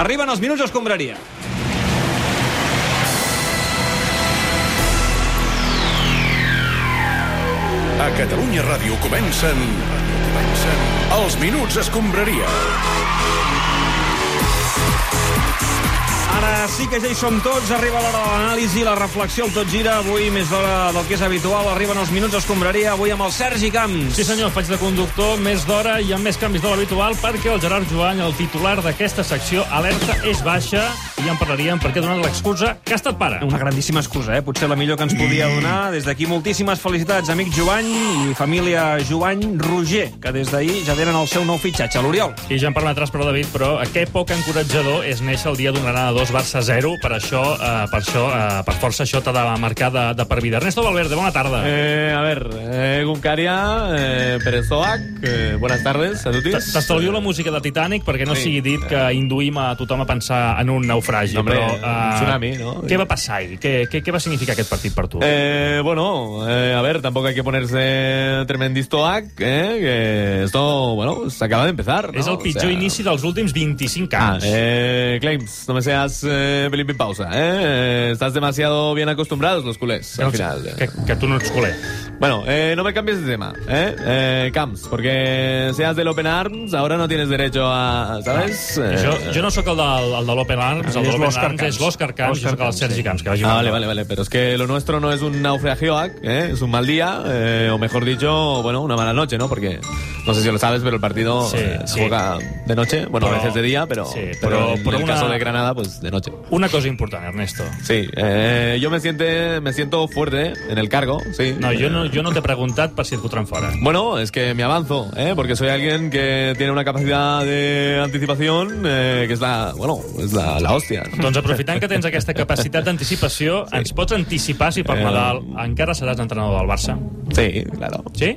Arriben els minuts escombraria. A Catalunya Ràdio comencen... comencen... Els Minuts Escombraria. Ara sí que ja hi som tots, arriba l'hora de l'anàlisi, la reflexió, el tot gira. Avui, més d'hora del que és habitual, arriben els minuts escombraria. Avui amb el Sergi Camps. Sí senyor, faig de conductor més d'hora i amb més canvis de l'habitual perquè el Gerard Joan, el titular d'aquesta secció, alerta és baixa i ja en parlaríem perquè ha donat l'excusa que ha estat pare. Una grandíssima excusa, eh? Potser la millor que ens podia donar. Des d'aquí, moltíssimes felicitats, amic Jovany i família Jovany Roger, que des d'ahir ja tenen el seu nou fitxatge, l'Oriol. I ja en parlaràs, però, David, però eh, que poc encoratjador és néixer el dia d'un Granada 2 Barça 0, per això, eh, per això, eh, per força això t'ha de marcar de, de per vida. Ernesto Valverde, bona tarda. Eh, a ver, eh, Guncaria, eh, Perezoac, eh, buenas tardes a T- todos. T'estalvio la música de Titanic perquè no Sí. Eh. sigui dit que induïm a tothom a pensar en un naufragi. No, hombre, però, eh, un tsunami, no? Què va passar ahir? Què, què, què va significar aquest partit per tu? Eh, bueno, eh, a ver, tampoco hay que ponerse tremendisto ac, eh, que esto, bueno, se acaba de empezar. ¿no? és el pitjor O sea, inici dels últims 25 Ah, anys. eh, Claims, no me seas eh, pelín pin pausa, ¿eh? Eh, Estás demasiado bien acostumbrados los culés, al final. eh. Que, que tu no ets culer. Bueno, eh, no me cambies de tema, ¿eh? Eh, Camps, porque seas del Open Arms, ahora no tienes derecho a, ¿sabes? Eh, Jo, jo no sóc el de, el de l'Open Arms, el És de l'Open l'Òscar Arms és Camps. l'Òscar Camps, jo Òscar sóc el Camps, Sergi sí. Camps, que vagi Ah, mal. vale, vale, vale. Pero es que lo nuestro no es un naufragio, ¿eh? es un mal día, eh, o mejor dicho, bueno, una mala noche, ¿no? Porque no sé si lo sabes, pero el partido Sí, eh, se sí. juega de noche, bueno, a Pero- veces de día, pero, sí, pero, pero en por el una- caso de Granada, pues de noche. Una cosa important, Ernesto. Sí, eh, yo me, siente, me siento fuerte en el cargo, sí. No, jo no, Eh, jo no t'he preguntat per si et fotran fora. Bueno, es que me avanzo, ¿eh? porque soy alguien que tiene una capacidad de anticipación eh, que es la, bueno, es la, la hostia. Doncs aprofitant que tens aquesta capacitat d'anticipació, sí. ens pots anticipar si per Eh, Nadal encara seràs entrenador del Barça? Sí, claro. Sí?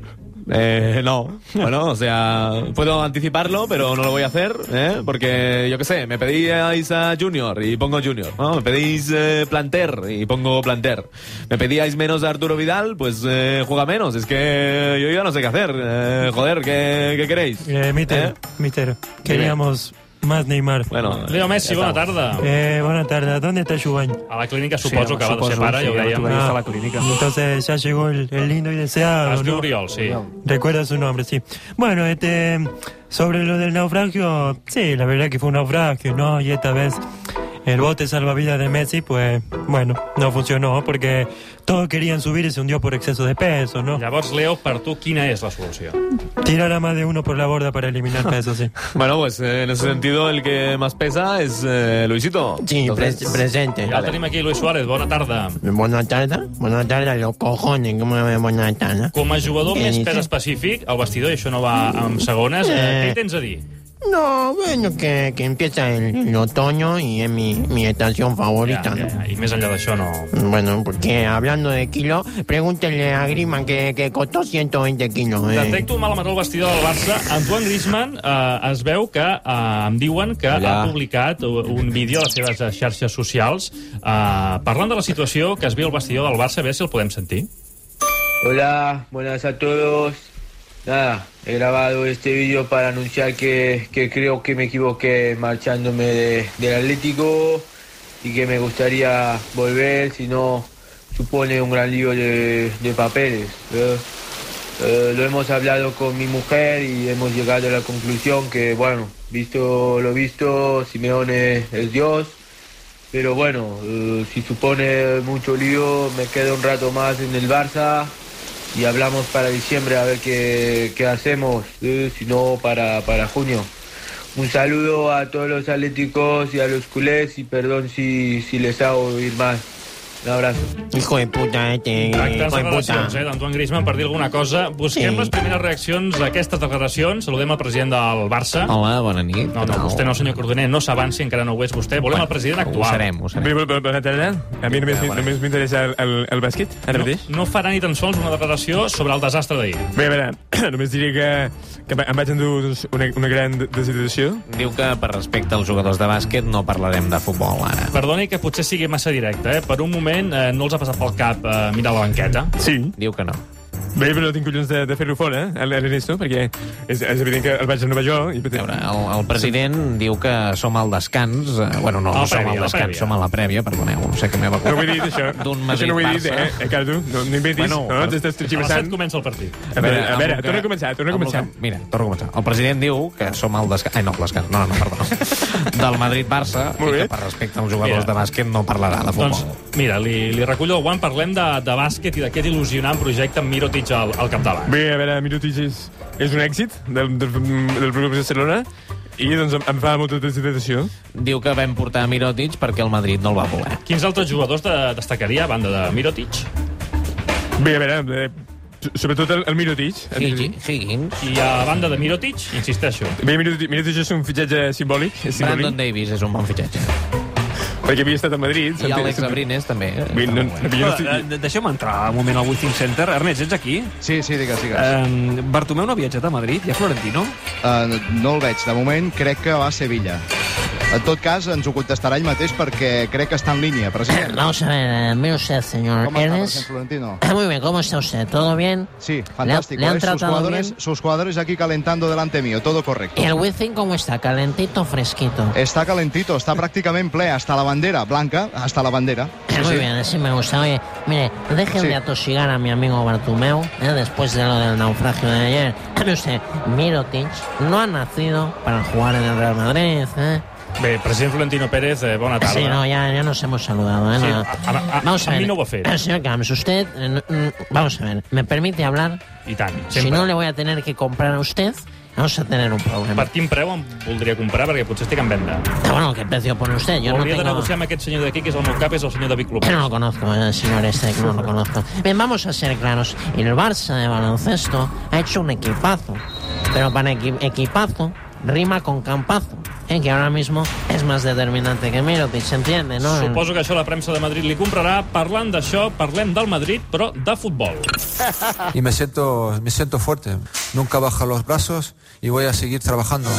Eh, no, bueno, o sea, puedo anticiparlo, pero no lo voy a hacer, ¿eh? porque yo qué sé, me pedíais a Junior y pongo Junior, ¿no? me pedís eh, Planter y pongo Planter, me pedíais menos a Arturo Vidal, pues eh, juega menos, es que yo ya no sé qué hacer, eh, joder, ¿qué, qué queréis? Eh, Mister, ¿Eh? Mister, queríamos más Neymar. Bueno, Leo Messi, ya bona estamos. tarda. Eh, buenas tardes, ¿dónde está Juan? A la clínica suposo que va de ser pare, ja ho dèiem. Ah, Entonces ya llegó el, el lindo y Es deseado. diu ¿no? Oriol, sí. Recuerda su nombre, sí. Bueno, este, sobre lo del naufragio, sí, la verdad que fue un naufragio, ¿no? Y esta vez el bote salvavidas de Messi, pues, bueno, no funcionó porque todos querían subir y se hundió por exceso de peso, ¿no? Llavors, Leo, per tu, quina és la solució? Tirar a más de uno por la borda para eliminar peso, sí. Bueno, pues eh, en ese sentido el que más pesa es eh, Luisito. Sí, Entonces, pres- presente. Ja el tenim aquí, Luis Suárez, bona tarda. Buenas tardes, buenas tardes, los cojones, ¿cómo me buenas tardes? Com a jugador més pes específic, al vestidor, i això no va amb segones, eh, què hi tens a dir? No, bueno, que, que empieza el, el otoño y es mi, mi Ja, estación favorita, ja, ¿no? ja, I més enllà d'això, no. Bueno, porque hablando de kilo, pregúntenle a Griezmann que, que costó 120 kilos. eh. Detecto mal amateur al vestidor del Barça. Antoine Griezmann eh, es veu que eh, em diuen que Allà. ha publicat un vídeo a les seves eh, xarxes socials eh, parlant de la situació que es viu al vestidor del Barça. A veure si el podem sentir. Hola, buenas a todos. Nada, he grabado este vídeo para anunciar que, que creo que me equivoqué marchándome de- del Atlético y que me gustaría volver, si no supone un gran lío de, de papeles. ¿eh? Eh, lo hemos hablado con mi mujer y hemos llegado a la conclusión que, bueno, visto lo visto, Simeone es Dios. Pero bueno, eh, si supone mucho lío, me quedo un rato más en el Barça y hablamos para diciembre a ver qué, qué hacemos, eh, si no para, para junio. Un saludo a todos los atléticos y a los culés y perdón si, si les hago ir más. Un abrazo. Hijo de puta, este. Tractant Hijo de de puta. relacions eh, d'Antoine Griezmann per dir alguna cosa. Busquem Sí. les primeres reaccions d'aquestes declaracions. Saludem el president del Barça. Home, bona nit. No, no, vostè no, senyor Cordoner, no s'avanci, encara no ho és vostè. Volem el president Ho actual. serem, ho serem. Bona tarda. A mi només, només m'interessa el, el, el bàsquet, ara No, mateix. no farà ni tan sols una declaració sobre el desastre d'ahir. Bé, a veure, només diré que, que em vaig endur doncs, una, una gran desideració. Diu que per respecte als jugadors de bàsquet no parlarem de futbol ara. Perdoni que potser sigui massa directe, eh? Per un moment eh, no els ha passat pel cap eh, mirar la banqueta. Sí. Diu que no. Bé, però no tinc collons de, de fer-lo fora, eh, a l'Ernesto, perquè és, és evident que el vaig a Nova York i... A veure, el, el president diu que som al descans. eh, Bueno, no, A la no som prèvia, a al la descans, prèvia. som a la prèvia, perdoneu, no sé què m'he No ho he dit, això. D'un això no ho he dit, Madrid-Barça. eh, eh, Cardo? No, no inventis, Bueno, bueno, no? però- T'estàs A les 7 trigivessant. comença el partit. A veure, a amb veure, el que- torna a començar, torna a amb el començar. que- Mira, torna a començar. El president diu que som al descans... Ai, no, al descans, no, no, perdó. Del Madrid-Barça, Molt i bé. que per respecte als jugadors Mira. de bàsquet no parlarà de futbol. Doncs, mira, li, li recullo el guant, parlem de, de bàsquet i d'aquest il·lusionant projecte amb Mirotic al, al capdavant. Bé, a veure, Mirotic és, és un èxit del, del, mm. del Club de Barcelona i doncs em, em fa molta satisfacció. Diu que vam portar Mirotic perquè el Madrid no el va voler. Quins altres jugadors de, destacaria a banda de Mirotic? Bé, a veure, eh, so- sobretot el, el Mirotic. Higgi- Higgins, I a banda de Mirotic, insisteixo, Bé, Mirotic, Mirotic és un fitxatge simbòlic, és simbòlic Brandon Davis és un bon fitxatge. perquè havia estat a Madrid. I s'entén- Àlex Abrines també. eh, Bé, no, no, està molt bé. jo no estic... Eh, de- Deixa'm entrar un moment al Wizzing Center. Ernest, ets aquí? Sí, sí, digues, digues. Eh, Bartomeu no ha viatjat a Madrid? Hi ha Florentino? Uh, no el veig. De moment crec que va a Sevilla. En tot cas, ens ho contestarà ell mateix perquè crec que està en línia, president. Vamos a ver, eh, mire usted, señor ¿Cómo está, Ernest. presidente Florentino? Muy bien, ¿cómo está usted? ¿Todo bien? Sí, Le fantástico. han- le han ¿eh? Sus, tratado jugadores, bien. sus jugadores aquí calentando delante mío, todo correcto. ¿Y el Wizzing cómo está? ¿Calentito o fresquito? Está calentito, está prácticamente ple, hasta la bandera blanca, hasta la bandera. Sí, Muy sí. bien, así me gusta. Oye, mire, dejen Sí. de atosigar a mi amigo Bartumeu eh, después de lo del naufragio de ayer. Mire usted, Mirotic no ha nacido para jugar en el Real Madrid. ¿eh? Bé, president Florentino Pérez, eh, bona tarda. Sí, no, ya, ya nos hemos saludado. ¿eh? Sí, No. a- a- a- vamos a, a ver. mí no va a hacer. Eh, Señor Camps, usted, eh, no, mm, vamos a ver, ¿me permite hablar? I tant, Si sempre. no le voy a tener que comprar a usted, vamos a tener un problema. Per quin preu em voldria comprar? Perquè potser estic en venda. Pero bueno, ¿qué precio pone usted? Yo Hauria no de tengo... negociar amb aquest senyor d'aquí, que és el meu cap, és el senyor David Yo Clopés. no lo conozco, eh, señor este, no lo conozco. Bien, vamos a ser claros. El Barça de baloncesto ha hecho un equipazo. Pero para equi- equipazo rima con campazo, eh, que ahora mismo es más determinante que Mirotic, ¿se entiende? No? Suposo que això la premsa de Madrid li comprarà. Parlant d'això, parlem del Madrid, però de futbol. y me siento, me siento fuerte. Nunca bajo los brazos y voy a seguir trabajando.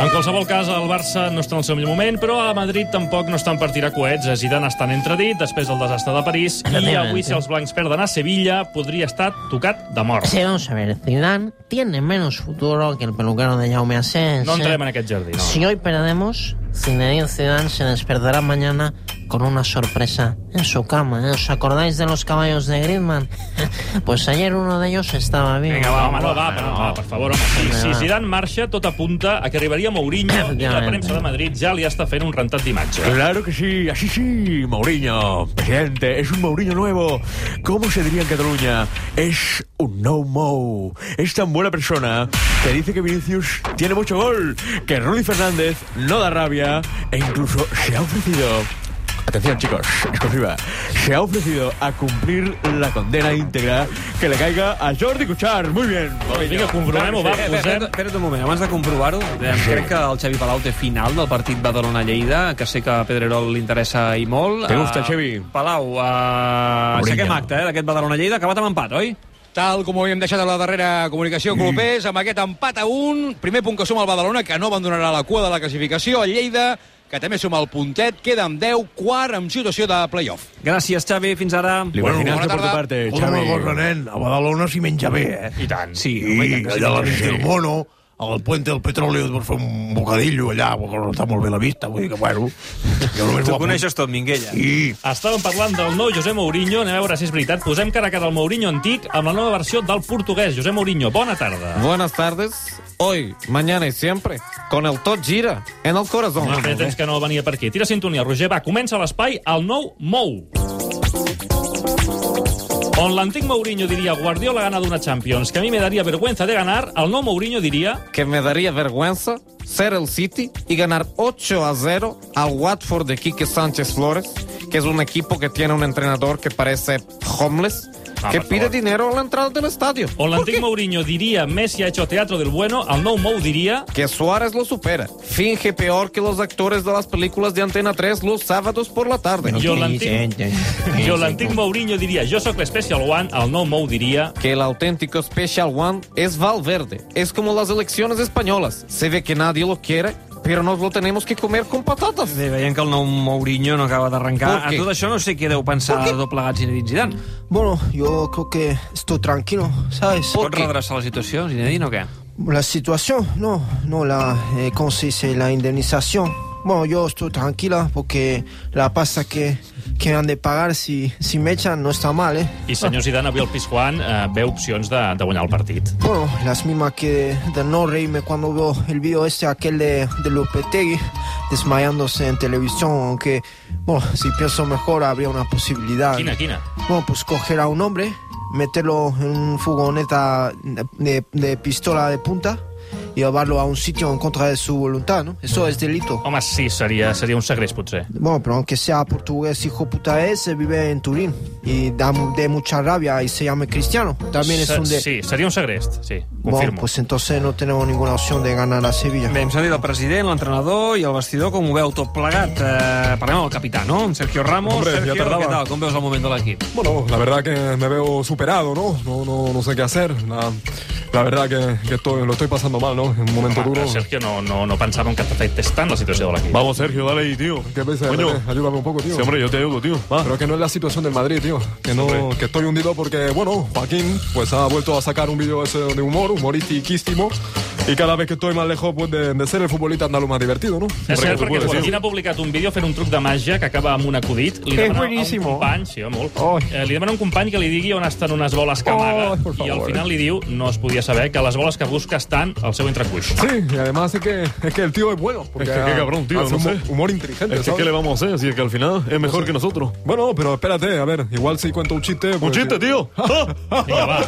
En qualsevol cas, el Barça no està en el seu millor moment, però a Madrid tampoc no estan per tirar coets. A Zidane estan entredit després del desastre de París i avui, si els blancs perden a Sevilla, podria estar tocat de mort. Sí, vamos a ver, Zidane tiene menos futuro que el peluquero de Jaume Asens. No eh. entrem en aquest jardí, no. Si hoy perdemos, Zinedine Zidane se despertará mañana con una sorpresa en su cama. ¿eh? ¿Os acordáis de los caballos de Griezmann? pues ayer uno de ellos estaba vivo. Vinga, va, home, no, va, però, va, per favor, home. Si, si Zidane marxa, tot apunta a que arribaria Mourinho i la premsa de Madrid ja li està fent un rentat d'imatge. eh? Claro que sí, así sí, Mourinho, presidente, es un Mourinho nuevo. ¿Cómo se diría en Cataluña? Es un no mo. Es tan buena persona que dice que Vinicius tiene mucho gol, que Rulli Fernández no da rabia e incluso se ha ofrecido. Atención chicos, exclusiva. Se ha ofrecido a cumplir la condena íntegra que le caiga a Jordi Cuchar. Muy bien. Vinga, comprovem-ho, va, Eh, espera, posem... espera, espera't un moment, abans de comprovar-ho, eh, crec que el Xavi Palau té final del partit Badalona-Lleida, que sé que a Pedrerol li interessa i molt. Te gusta, Eh, Xavi? Palau, eh, aixequem acte, eh, d'aquest Badalona-Lleida, acabat amb empat, oi? Tal com ho havíem deixat a la darrera comunicació, Mm. clubers, amb aquest empat a un, primer punt que suma el Badalona, que no abandonarà la cua de la classificació, el Lleida, que també suma el puntet, queda amb 10, quart, amb situació de playoff. Gràcies, Xavi, fins ara. Libertinazo Bueno, por tu buena parte, Una Xavi. cosa, nen, a Badalona s'hi menja bé, eh? I tant. Sí, home, i I tant que sí, allà a la que sí. vista del mono, al puente del petróleo per fer un bocadillo allà, perquè no està molt bé la vista, vull dir que, bueno... Jo només Tu ho ho coneixes tot, Minguella. Sí, Estàvem parlant del nou José Mourinho, anem a veure si és veritat. Posem cara a cara al Mourinho antic amb la nova versió del portuguès. José Mourinho, bona tarda. Buenas tardes. Hoy, mañana y siempre. Con el tot gira en el corazón. No, feia temps que no venia per aquí. Tira sintonia, Roger. Va, comença l'espai al nou Mou. On l'antic Mourinho diria Guardiola ha ganado una Champions, que a mi me daría vergüenza de ganar, el nou Mourinho diria Que me daría vergüenza ser el City y ganar 8 a 0 al Watford de Quique Sánchez Flores, que es un equipo que tiene un entrenador que parece homeless, Ah, que por pide favor. dinero a la entrada del estadio. on ¿Por l'antic qué? Mourinho diria Messi ha hecho teatro del bueno, el nou Mou diria Que Suárez lo supera. Finge peor que los actores de las películas de Antena 3 los sábados por la tarde. jo l'antic jo l'antic Mourinho diria jo sóc l'Special One, el nou Mou diria que el auténtico Special One es Valverde. Es como las elecciones españolas. Se ve que nadie lo quiere, pero nos lo tenemos que comer con patatas. Bé, veiem que el nou Mourinho no acaba d'arrencar. ¿Por A qué? tot això no sé què deu pensar doblegats Zinedine Zidane. Bueno, yo creo que estoy tranquilo, ¿sabes? Pot redreçar la situació, Zinedine, o què? La situación, no, no, la, eh, ¿cómo se dice? La indemnización. Bueno, yo estoy tranquila porque la pasta que, que me han de pagar si, si me echan no está mal, ¿eh? I senyor Zidane, avui el Pizjuán eh, veu opcions de, de guanyar el partit. Bueno, las mismas que de no reírme cuando veo el video este, aquel de, de Lopetegui desmayándose en televisión, aunque, bueno, si pienso mejor habría una posibilidad. Quina, quina? Bueno, pues coger a un hombre, meterlo en un furgoneta de, de pistola de punta y llevarlo a un sitio en contra de su voluntad, ¿no? Eso es delito. Home, sí, seria, seria un segrest, potser. Bueno, pero aunque sea portugués, hijo puta es, se vive en Turín y da mu- de mucha rabia y se llama cristiano. También es Se- un de... Sí, seria un segrest, sí, Bueno, confirmo. pues entonces no tenemos ninguna opción de ganar a Sevilla. Bé, hem sentit el president, l'entrenador i el vestidor, com ho veu tot plegat. Eh, parlem amb el capità, no? Amb Sergio Ramos. Hombre, ja Sergio, tardaba. què tal? Com veus el moment de l'equip? Bueno, la verdad que me veo superado, ¿no? No, no, no sé qué hacer. La, la verdad que, que estoy- lo estoy pasando mal, ¿no? En un momento Home, duro. però Ah, Sergio no, no, no pensàvem que t'afectés tant la situació de l'equip. Vamos, Sergio, dale ahí, tío. ¿Qué piensas? Coño. Dale, Eh, Ayúdame un poco, tío. Sí, hombre, yo te ayudo, tío. Pero que no es la situación del Madrid, tío. Que no, Hombre. que estoy hundido porque, bueno, Joaquín, pues ha vuelto a sacar un vídeo ese eh, de humor, humoristiquísimo. Y cada vez que estoy más lejos, pues, de, de ser el futbolista andaluz más divertido, ¿no? És cert, perquè Hombre, Joaquín ha publicat un vídeo fent un truc de màgia que acaba amb un acudit. Li Que és demana buenísimo. a un company, sí, molt, eh, li demana a un company que li digui on estan unes boles que amaga, i al final li diu, no es podia saber, que les boles que busca estan al seu entrecuix. Sí, y además es que, es que el tío es bueno. Porque Es que qué ha- cabrón, tío, hace no humo- sé. humor inteligente. Es que qué le vamos a hacer? Si es que al final es mejor que nosotros. Bueno, pero espérate, a ver, igual si cuento un chiste. ¡Un chiste, tío! Venga, va.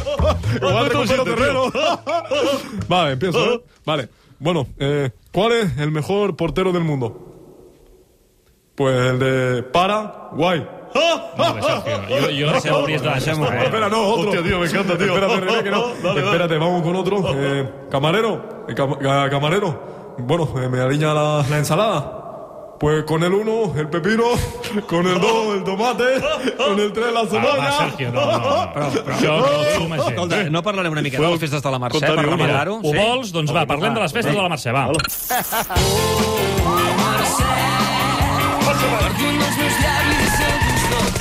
Igual te comparo chiste, terreno. Vale, empiezo. ¿eh? Vale. Bueno, eh, ¿cuál es el mejor portero del mundo? Pues el de Paraguay. Yo, yo no sé, hauries de deixar-ho. Espera, no, otro. Hostia, tío, me encanta, tío. Espérate, René, que no. Espérate, vamos con otro. Eh, camarero, eh, cam- ca- camarero. Bueno, eh, me aliña la, la ensalada. Pues con el uno, el pepino, con el dos, el tomate, con el tres, la cebolla. Però, Escolta, Eh, no parlarem una mica de les festes de la Mercè, per rememorar-ho? Ho vols? Doncs va, parlem de les festes de la Mercè, va.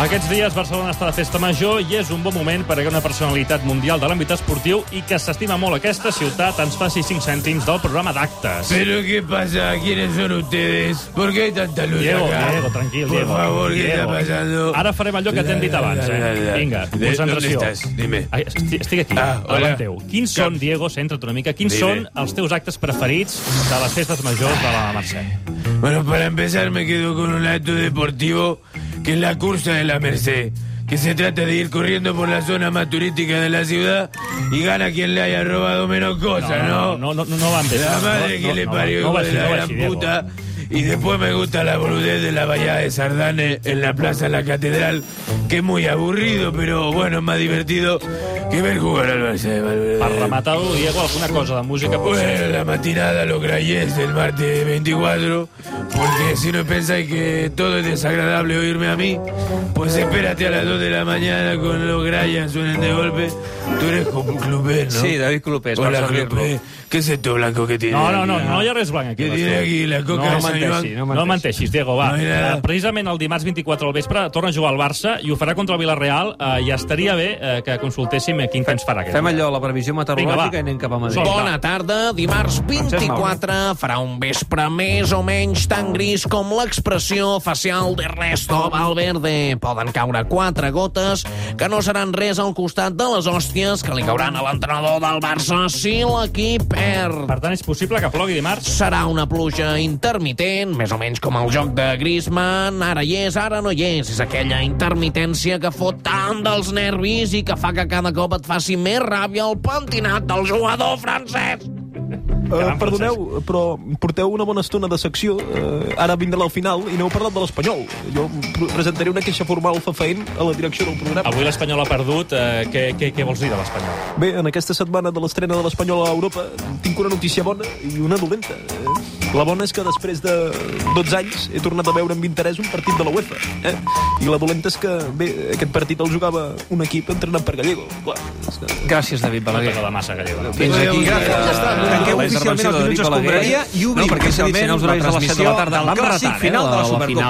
Aquests dies Barcelona està de festa major i és un bon moment perquè una personalitat mundial de l'àmbit esportiu i que s'estima molt aquesta ciutat ens faci 5 cèntims del programa d'actes. ¿Pero qué pasa? ¿Quiénes son ustedes? ¿Por qué hay tanta luz Diego, acá? Diego, tranquil, Por Diego. favor, ¿qué Diego. está pasando? Ara farem allò que t'hem dit abans, eh? Vinga, De- concentració. ¿Dónde estás? Dime. Ai, esti- Estic aquí, ah, hola. davant teu. Quins són, Diego, centra't una mica, quins Dime. són els teus actes preferits de les festes majors de la Mercè? Bueno, para empezar me quedo con un acto deportivo que es la cursa de la Merced, que se trata de ir corriendo por la zona más turística de la ciudad y gana quien le haya robado menos cosas, No, no, ¿no? no, no, no van bé. La No, madre no, que le no, parió no hijo va de així, la no va gran així, Diego. puta. Y después me gusta la boludez de la bahía de Sardane en la plaza de la catedral, que es muy aburrido, pero bueno, es más divertido que ver jugar al Barça de Valverde. Per rematar-ho, Diego, alguna cosa de música, Bueno, potser? la matinada lo grayés el martes 24, porque si no pensáis que todo es desagradable oírme a mí, pues espérate a las 2 de la mañana con los grayas suenan de golpe. Tú eres como un clubé, ¿no? Sí, David Clupés, per Hola, servir-lo. Clupé. ¿Qué es esto blanco que tiene? No, no, no, aquí? no hi ha res blanc aquí. Què diré aquí? La coca no de Sant menteixi, Joan? No menteixis, no menteixis Diego, va. No hi ha Eh, nada. precisament el dimarts 24 al vespre torna a jugar al Barça i ho farà contra el Villarreal eh, i estaria bé eh, que consultéssim eh, quin temps farà. Aquest. Fem allò, la previsió meteorològica, Vinga, va. i anem cap a Madrid. Solta. Bona tarda, dimarts Francesc Mauri. 24, farà un vespre més o menys tan gris com l'expressió facial de Resto Valverde. Poden caure quatre gotes que no seran res al costat de les hòsties que li cauran a l'entrenador del Barça si l'equip perd. Per tant, és possible que plogui dimarts? Serà una pluja intermitent, més o menys com el joc de Griezmann. Ara hi és, ara no hi és. És aquella intermitència que fot tant dels nervis i que fa que cada cop et faci més ràbia el pentinat del jugador francès. Uh, perdoneu, però porteu una bona estona de secció. Uh, ara vindrà al final i no heu parlat de l'Espanyol. Jo pr- presentaré una queixa formal fefaent a la direcció del programa. Avui l'Espanyol ha perdut. Eh, què, què, què vols dir de l'Espanyol? Bé, en aquesta setmana de l'estrena de l'Espanyol a Europa tinc una notícia bona i una dolenta. Eh? La bona és que després de 12 anys he tornat a veure amb interès un partit de la UEFA. Eh? I la dolenta és que, bé, aquest partit el jugava un equip entrenat per Gallego. Clar, és que... Gràcies, David Balaguer. No tota massa, Gallego. Fins aquí. eh, Gràcies. Ja està. Tanquem oficialment els minuts escombraria i obrim oficialment els horaris de les 7 de la tarda. Vam retard, eh, la, la, la final.